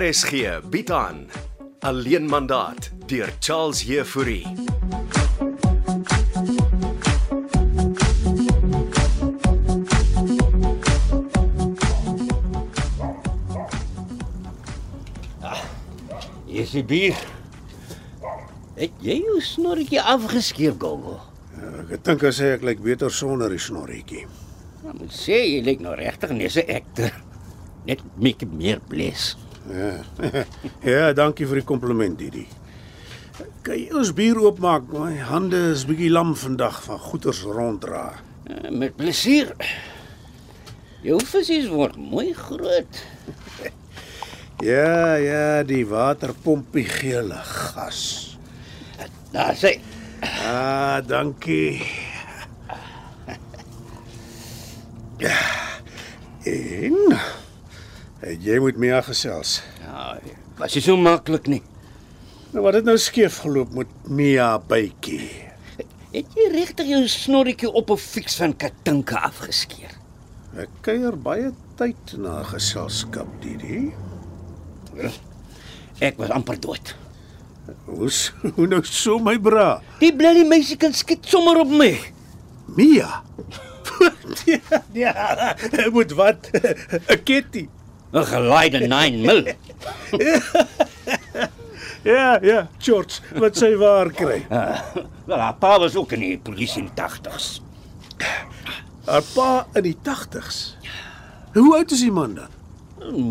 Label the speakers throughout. Speaker 1: RSG bied aan Alleen mandaat deur Charles Heffouri.
Speaker 2: Ah, Hier is die bier. Het jy jou snorretjie afgeskeer, Gogo?
Speaker 3: Ek dink as hy ek lyk beter sonder die snorretjie.
Speaker 2: Ek moet sê jy lyk nou regtig net so 'n akter. Net bietjie meer bles.
Speaker 3: Ja. ja, dankie vir die kompliment, Didi. Kan jy ons bier oopmaak? My hande is bietjie lam vandag van goeters ronddra.
Speaker 2: Eh, Met plesier. Jou visies word mooi groot.
Speaker 3: Ja, ja, die waterpompie gele gas.
Speaker 2: Daar sê,
Speaker 3: Ah, dankie. Ja. En het jy moet my gesels.
Speaker 2: ja, was nie so maklik nie.
Speaker 3: Nou wat het nou skeef geloop met Mia bytjie?
Speaker 2: Het jy regtig jou snorretjie op 'n fiks van Katinka afgeskeer?
Speaker 3: Ek kuier baie tyd na geselskap, Didi.
Speaker 2: Ek was amper dood.
Speaker 3: Hoe s- hoe nou so my bra?
Speaker 2: Die blerrie meisie kan skiet sommer op my.
Speaker 3: Mia. ja, ja, moet wat? 'n Ketty.
Speaker 2: 'n Gelaaide 9 mil.
Speaker 3: Ja, ja, George, wat sy waar kry.
Speaker 2: Ah, Wel, haar pa was ook in die polisie in die 80's.
Speaker 3: Haar pa in die 80's. Hoe oud is die man dan?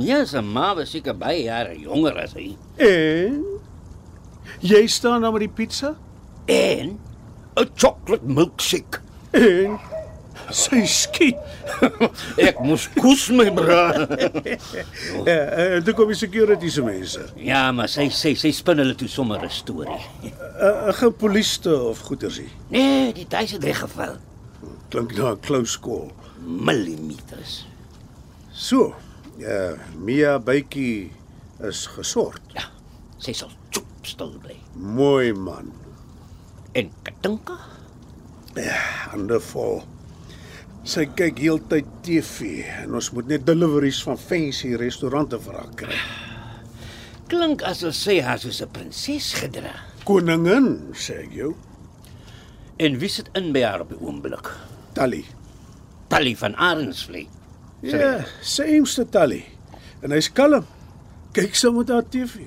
Speaker 2: Ja, sy ma was seker baie jare jonger as hy.
Speaker 3: En jy staan daar met die pizza
Speaker 2: En 'n chocolate milkshake.
Speaker 3: en sy skiet.
Speaker 2: Ek moes koes my bra.
Speaker 3: Ja, en toe kom die security se mense.
Speaker 2: Ja, maar sy sê sy spin hulle toe sommer 'n storie.
Speaker 3: 'n 'n Gepoliste of goedersie.
Speaker 2: Nee, die tyd het reggeval.
Speaker 3: Klink na 'n close call.
Speaker 2: Millimeters.
Speaker 3: So, eh uh, Mia Bytjie is gesort.
Speaker 2: Ja. Sy sal chop stil bly.
Speaker 3: Mooi man,
Speaker 2: En Katinka?
Speaker 3: hande vol. Sy kyk heeltyd TV en ons moet net deliveries van fancy restaurante vir haar kry.
Speaker 2: Klink asof sy haar soos 'n prinses gedra.
Speaker 3: Koningin, sê ek jou.
Speaker 2: En wie sit in by haar op die oomblik?
Speaker 3: Tally.
Speaker 2: Tally van Arensvlei.
Speaker 3: Ja, sêmste Tally. En hy's kalm. Kyk saam met haar TV.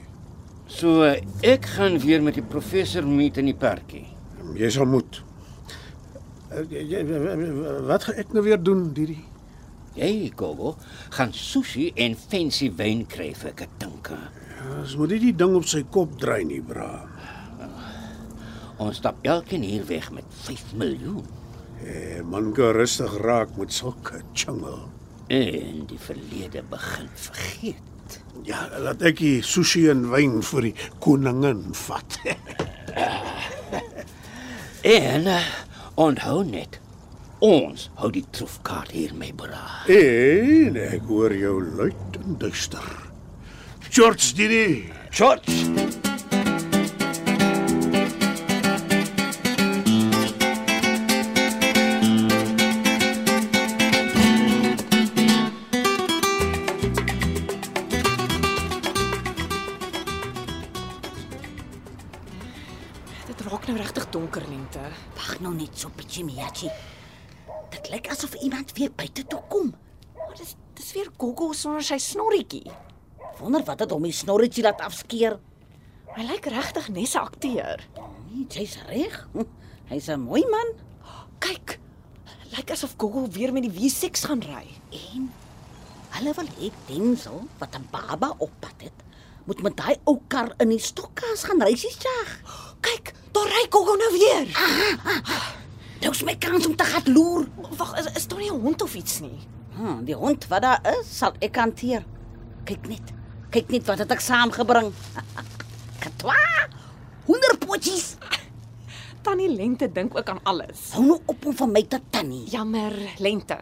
Speaker 2: So eh, ek gaan weer met die professor meet in die parkie.
Speaker 3: Jy sal moet. Eh, jy- jy- Wat gaan ek nou weer doen, Didi?
Speaker 2: Jy, Gogo, gaan sushi en fancy wyn kry vir Katinka.
Speaker 3: Ons moet nie die ding op sy kop draai nie, bra.
Speaker 2: Ons stap elkeen hier weg met 5 miljoen.
Speaker 3: Eh, man kan rustig raak met sulke jungle.
Speaker 2: En die verlede begin vergeet.
Speaker 3: Ja, laat ek die sushi en wyn vir die koningin vat.
Speaker 2: En eh, onthou net, ons hou die troefkaart hier mee bra.
Speaker 3: en ek hoor jou luid en duister. George Didi,
Speaker 2: Shots.
Speaker 4: Dit raak nou regtig donker lente.
Speaker 5: Wag nou net so bietjie, Miachi. Dit lyk asof iemand weer buite toe kom.
Speaker 4: Maar dis dis weer Gogo sonder sy snorretjie.
Speaker 5: Wonder wat het hom die snorretjie laat afskeer.
Speaker 4: Hy lyk regtig net 'n akteur.
Speaker 5: Nee, jy's reg. Hm, Hy's 'n mooi man.
Speaker 4: Kyk. Lyk asof Gogo weer met die W6 gaan ry.
Speaker 5: En hulle wil hê Denzel wat 'n baba op pad het, moet met daai ou kar in die stokkas gaan reisies jag.
Speaker 4: Kyk, daar ry Gogo nou weer.
Speaker 5: Dis Nou my kans om te gaan loer.
Speaker 4: Wag, is, is daar nie 'n hond of iets nie?
Speaker 5: Hm, die hond wat daar is, sal ek hanteer. Kyk net. Kyk net wat het ek saamgebring. Katwa! 100 potjies.
Speaker 4: Tannie Lente dink ook aan alles.
Speaker 5: Hou nou op om van my te tannie.
Speaker 4: Jammer, Lente.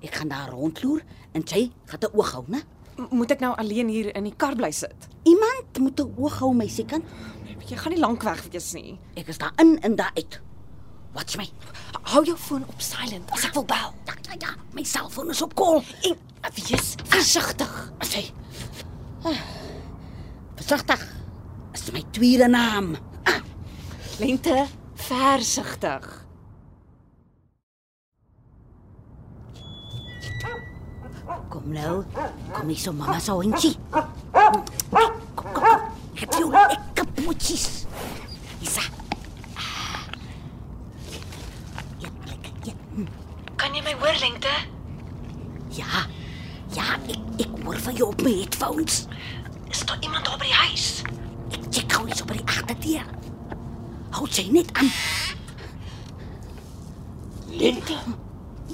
Speaker 5: Ek gaan daar rondloer en jy gaan 'n oog hou, né?
Speaker 4: M moet ek nou alleen hier in die kar bly sit?
Speaker 5: Iemand moet 'n oog hou, meisiekind.
Speaker 4: Jy gaan nie lank weg wees nie.
Speaker 5: Ek is daar in en daar uit. Watch my.
Speaker 4: Hou jou foon op silent as ek wil bel.
Speaker 5: Ja, ja, ja. My selfoon is op kol.
Speaker 4: En wees versigtig.
Speaker 5: As hy. Ah, Versigtig. Is my tweede naam.
Speaker 4: Lente, versigtig.
Speaker 5: Kom nou. Kom hier so mamma se hondjie. Kom, kom, kom. Heb jy lekker poetjies? Isa. Ah. Ja, lekker. Ja.
Speaker 6: Kan jy my hoor, Lente?
Speaker 5: Ja. Ja, ek ek hoor van jou op my headphones.
Speaker 6: Is daar iemand daar by die huis?
Speaker 5: Ek check gou iets op die agterdeur. Hou jy net aan.
Speaker 2: Lente.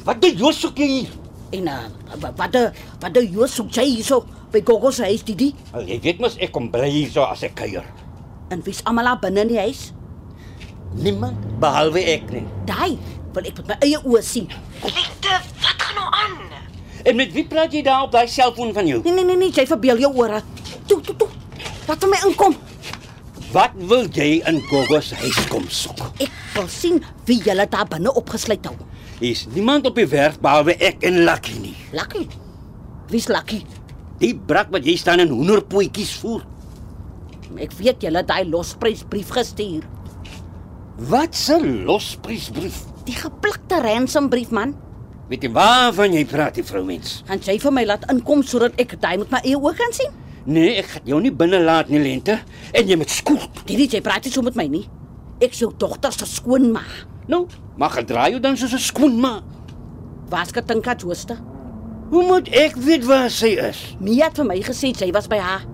Speaker 2: Wat doen jy soek jy hier?
Speaker 5: En uh, wa- wat eh, wat jy soek jy hierso by Gogo se huis, Didi?
Speaker 2: Al jy weet mos ek kom bly hier so as ek kuier.
Speaker 5: En wie's almal daar binne in die huis?
Speaker 2: Niemand behalwe ek nie.
Speaker 5: Daai wil ek met my eie oë sien.
Speaker 6: Lente, wat gaan nou aan?
Speaker 2: En met wie praat jy daar op daai selfoon van jou?
Speaker 5: Nee nee nee nee, jy verbeel jou ore. Toe toe toe. Laat hom my inkom.
Speaker 2: Wat wil jy in Gogo se huis kom soek?
Speaker 5: Ek wil sien wie julle daar binne opgesluit hou.
Speaker 2: Hier's niemand op die werf behalwe ek en Lucky nie.
Speaker 5: Lucky. Wie's Lucky?
Speaker 2: Die brak wat jy staan in hoenderpootjies voer.
Speaker 5: Ek weet julle het daai losprysbrief gestuur.
Speaker 2: Wat 'n losprysbrief.
Speaker 5: Die geplakte ransom brief man.
Speaker 2: Weet jy waarvan jy praat, die vroumens?
Speaker 5: Gaan jy vir my laat inkom sodat ek daai met my eie oë kan sien?
Speaker 2: Nee, ek gaan jou nie binne laat nie, Lente, en jy moet skool.
Speaker 5: Hierdie jy praat nie so met my nie. Ek sou dogter se skoon ma.
Speaker 2: Nou, maar gedra jou dan soos 'n skoenma.
Speaker 5: Waar's Katinka Jooste?
Speaker 2: Hoe moet ek weet waar sy is?
Speaker 5: Mia het vir my gesê sy was by haar.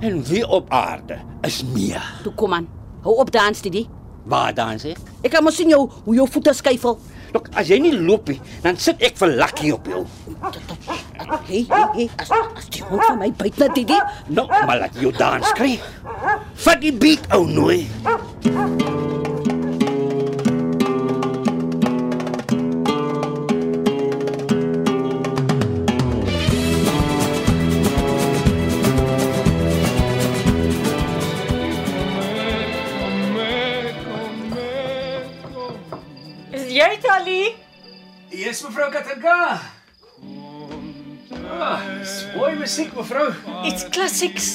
Speaker 2: En wie op aarde is Mia?
Speaker 5: Toe kom aan. Hou op dans dit.
Speaker 2: Waar dan sê?
Speaker 5: Ek kan mos sien jou hoe jou voete skuifel.
Speaker 2: Lok, as jy nie loop nie, dan sit ek vir lakkie op jou.
Speaker 5: Hey, hey, hey, as, as jy hoor van my byt na Didi,
Speaker 2: Nou, maar laat jou dans kry. Vat die beat ou nooi.
Speaker 6: Is jy Tali?
Speaker 7: Yes, mevrou Katinka. Ah, dis mooi musiek, mevrou.
Speaker 6: Iets klassieks.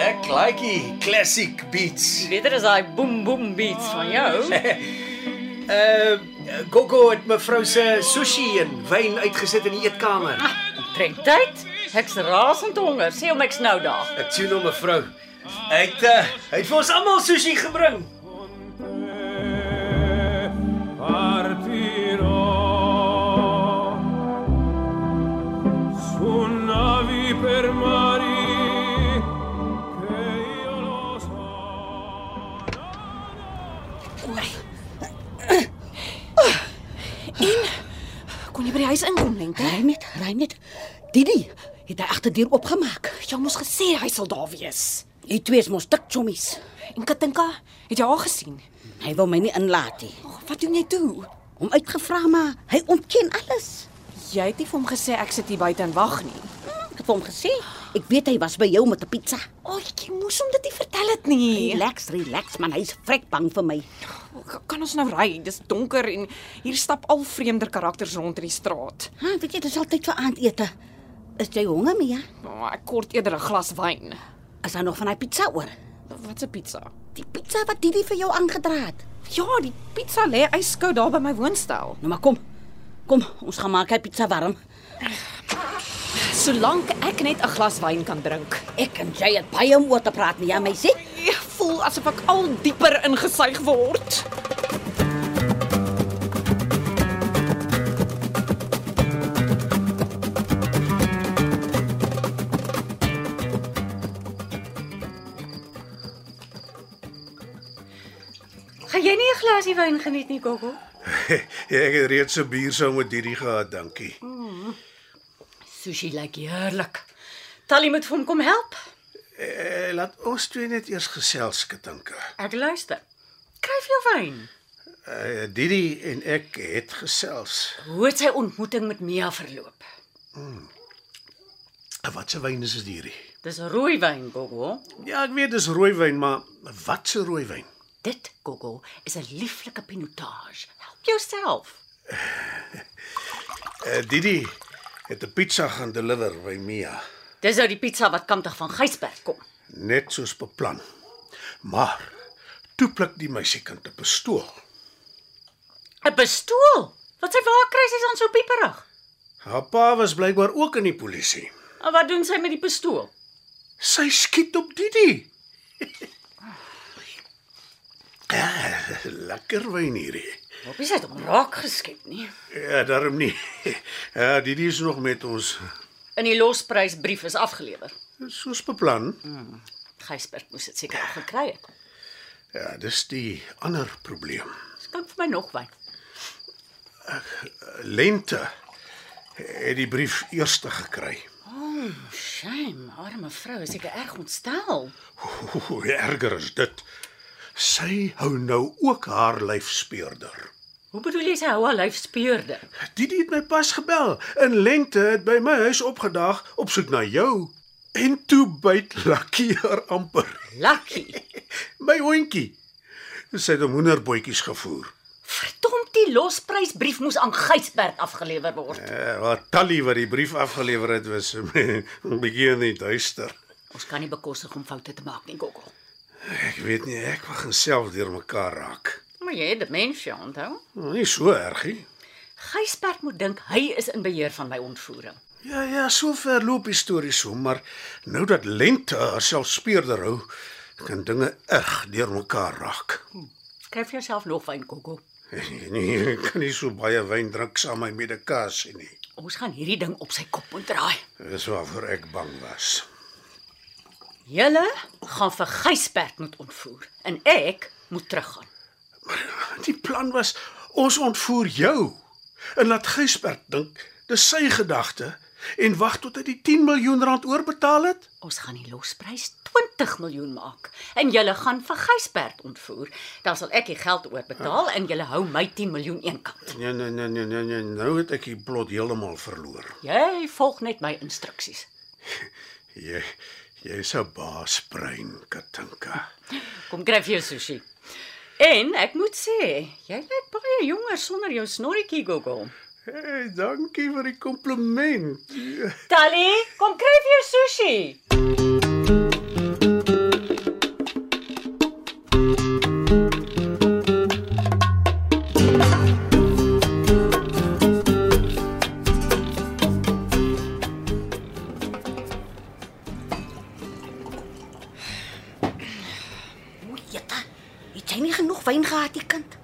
Speaker 7: Ek likie classic beats.
Speaker 6: Beter as daai boom boom beats van jou.
Speaker 7: Uh Gogo het mevrou se sushi en wyn uitgesit in die eetkamer.
Speaker 6: Trek tyd. Ek's rasend honger. Sê hom ek's nou daar.
Speaker 7: Ek sien hom mevrou. Hy het uh, hy het vir ons almal sushi gebring.
Speaker 8: partirò su navi per mari che io lo so
Speaker 4: Kon jy by die huis inkom, Lente?
Speaker 5: ry net, ry net. Didi het hy agterdeur oopgemaak.
Speaker 4: Jy moes gesê hy sal daar wees.
Speaker 5: Hy twee is mos dik chommies.
Speaker 4: En Katinka, het jy haar gesien?
Speaker 5: Hy wil my nie inlaat nie.
Speaker 4: Oh, wat doen jy toe?
Speaker 5: Hom uitgevra maar hy ontken alles.
Speaker 4: Jy het nie vir hom gesê ek sit hier buite en wag nie.
Speaker 5: Ek het vir hom gesê, ek weet hy was by jou met 'n pizza.
Speaker 4: O, oh, jy moes hom dit nie vertel het nie.
Speaker 5: Relax, relax man, hy's vrek bang vir my.
Speaker 4: K- Kan ons nou ry? Dis donker en hier stap al vreemder karakters rond in die straat.
Speaker 5: Ha, weet jy, dis altyd vir aandete. Is jy honger, Mia?
Speaker 4: Oh, ek kort eerder 'n glas wyn.
Speaker 5: Is daar nog van daai pizza oor?
Speaker 4: Wat 'n pizza.
Speaker 5: Die pizza wat Didi vir jou aangedra het.
Speaker 4: Ja, die pizza lê yskou daar by my woonstel.
Speaker 5: Nou maar kom. Kom, ons gaan maak hy pizza warm.
Speaker 4: Solank ek net 'n glas wyn kan drink.
Speaker 5: Ek en jy het baie om oor te praat, Mia, my sê.
Speaker 4: Ek Ja, voel asof ek al dieper ingesuig word.
Speaker 6: Gaan jy nie 'n glasie wyn geniet nie, Gogo?
Speaker 3: Ja, Ek het reeds 'n bier sou met hierdie gehad, dankie.
Speaker 6: Sushi lyk heerlik. Tali moet vir hom kom help.
Speaker 3: Eh, laat ons twee net eers gesels, Katinka.
Speaker 6: Ek luister. Kryf jou wyn.
Speaker 3: Eh, Didi en ek het gesels.
Speaker 6: Hoe het sy ontmoeting met Mia verloop?
Speaker 3: Wat se wyn is dit hierdie?
Speaker 6: Dis rooi wyn, Gogo.
Speaker 3: Ja, ek weet dis rooiwyn, maar wat se rooiwyn?
Speaker 6: Dit, Gogo, is 'n lieflike pinotage. Help jouself.
Speaker 3: Uh, Didi het 'n pizza gaan deliver by Mia,
Speaker 6: Dis nou die pizza wat kamptig van Gysberg kom.
Speaker 3: net soos beplan. Maar toe pluk die meisiekind 'n pistool.
Speaker 6: 'n Pistool. Wat sy waar kry sy is dan so pieperig?
Speaker 3: Haar pa was blykbaar ook in die polisie.
Speaker 6: En wat doen sy met die pistool?
Speaker 3: Sy skiet op Didi. Ja, lekker wyn hierdie.
Speaker 6: Hoppie sy het hom raak geskiet nie.
Speaker 3: Ja, daarom nie. Ja, Didi is nog met ons.
Speaker 6: In die losprysbrief is afgelewer.
Speaker 3: Soos beplan.
Speaker 6: Gysberg moes dit seker al gekry het.
Speaker 3: Ja, dis die ander probleem.
Speaker 6: Skink vir my nog wyn.
Speaker 3: Lente het die brief eerste gekry.
Speaker 6: Shame, arme vrou, is seker erg ontstel.
Speaker 3: Hoe erger is dit? Sy hou nou ook haar lyfspeurder.
Speaker 6: Hoe bedoel jy sy hou haar lyf speurde?
Speaker 3: Didi het my pas gebel. In lente het by my huis opgedag op soek na jou. En toe byt Lucky haar amper.
Speaker 6: Lucky.
Speaker 3: My hondjie. Sy het hom hoenderbootjies gevoer.
Speaker 6: Verdomd, die losprysbrief moes aan Gysberg afgelewer word.
Speaker 3: Eh, wat Tally wat die brief afgelewer het was 'n bietjie in die duister.
Speaker 6: Ons kan nie bekostig om foute te maak nie, Gogo.
Speaker 3: Ek weet nie, ek wag myself deurmekaar raak.
Speaker 6: Maar jy het demensie, onthou?
Speaker 3: Nou, nie so erg nie.
Speaker 6: Gysberg moet dink hy is in beheer van my ontvoering.
Speaker 3: Ja ja, so ver loop die storie so, maar nou dat lente haarself speurder hou, kan dinge erg deurmekaar raak.
Speaker 6: Skryf jouself nog wyn, Gogo.
Speaker 3: Nee, ek kan nie so baie wyn drink saam met my medikasie nie.
Speaker 6: Ons gaan hierdie ding op sy kop moet draai.
Speaker 3: Dis waarvoor ek bang was.
Speaker 6: Julle gaan vir Gysberg moet ontvoer en ek moet teruggaan.
Speaker 3: Die plan was ons ontvoer jou en laat Gysbert dink dis sy gedagte en wag tot hy die 10 miljoen rand oorbetaal het.
Speaker 6: Ons gaan die losprys 20 miljoen maak en julle gaan vir Gysbert ontvoer. Dan sal ek die geld oorbetaal en julle hou my 10 miljoen eenkant.
Speaker 3: Nee nee nee nee nee, nee. nou het ek die plot heeltemal verloor.
Speaker 6: Jy volg net my instruksies.
Speaker 3: Jy jy's 'n baasbrein, Katinka.
Speaker 6: Kom kry vir jou sushi. En ek moet sê, jy lyk baie jonger sonder jou snorretjie gogo.
Speaker 3: Hey, dankie vir die kompliment.
Speaker 6: Tally, kom kry vir jou sushi.
Speaker 5: Jeta, het jy nie genoeg wyn gehad, die kind?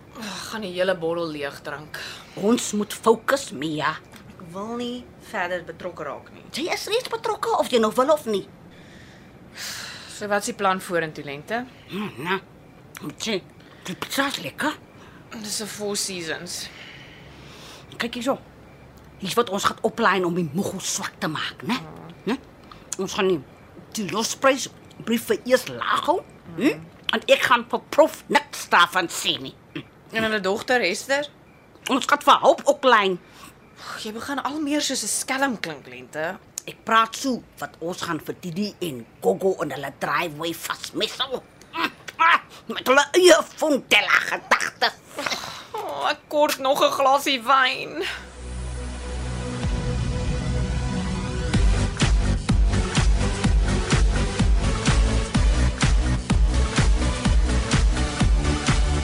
Speaker 4: Gaan die hele bottel leeg drink.
Speaker 5: Ons moet fokus, Mia.
Speaker 4: Ek wil nie verder betrokke raak nie.
Speaker 5: Jy is reeds betrokke of jy nou wil of nie.
Speaker 4: So wat is die plan vorentoe lente?
Speaker 5: Hm, na. Moet jy die pizza is lekker?
Speaker 4: Dis 'n Four Seasons.
Speaker 5: Kyk hierso. Hier's wat ons gaan oplaai om die moggel swak te maak, né? Né? Ons gaan nie die losprys brief vir eers laag hou. Hm? En ek gaan vir prof niks daarvan sê nie.
Speaker 4: En hulle dogter Esther,
Speaker 5: Ons gaan vir hulp oplaai.
Speaker 4: Ag, jy begin al meer soos 'n skelm klink lente.
Speaker 5: Ek praat so wat ons gaan vir Didi en Gogo in hulle driveway vasmessel. Hm, ah, Met hulle eie fontella gedagtes.
Speaker 4: Oh, ek kort nog 'n glasie wyn.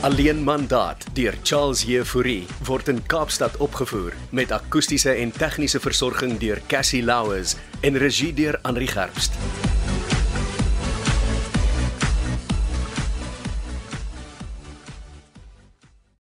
Speaker 1: Alleen mandaat deur Charles Jefouri word in Kaapstad opgevoer met akoestiese en tegniese versorging deur Cassie Louws en regie deur Henri Gerst.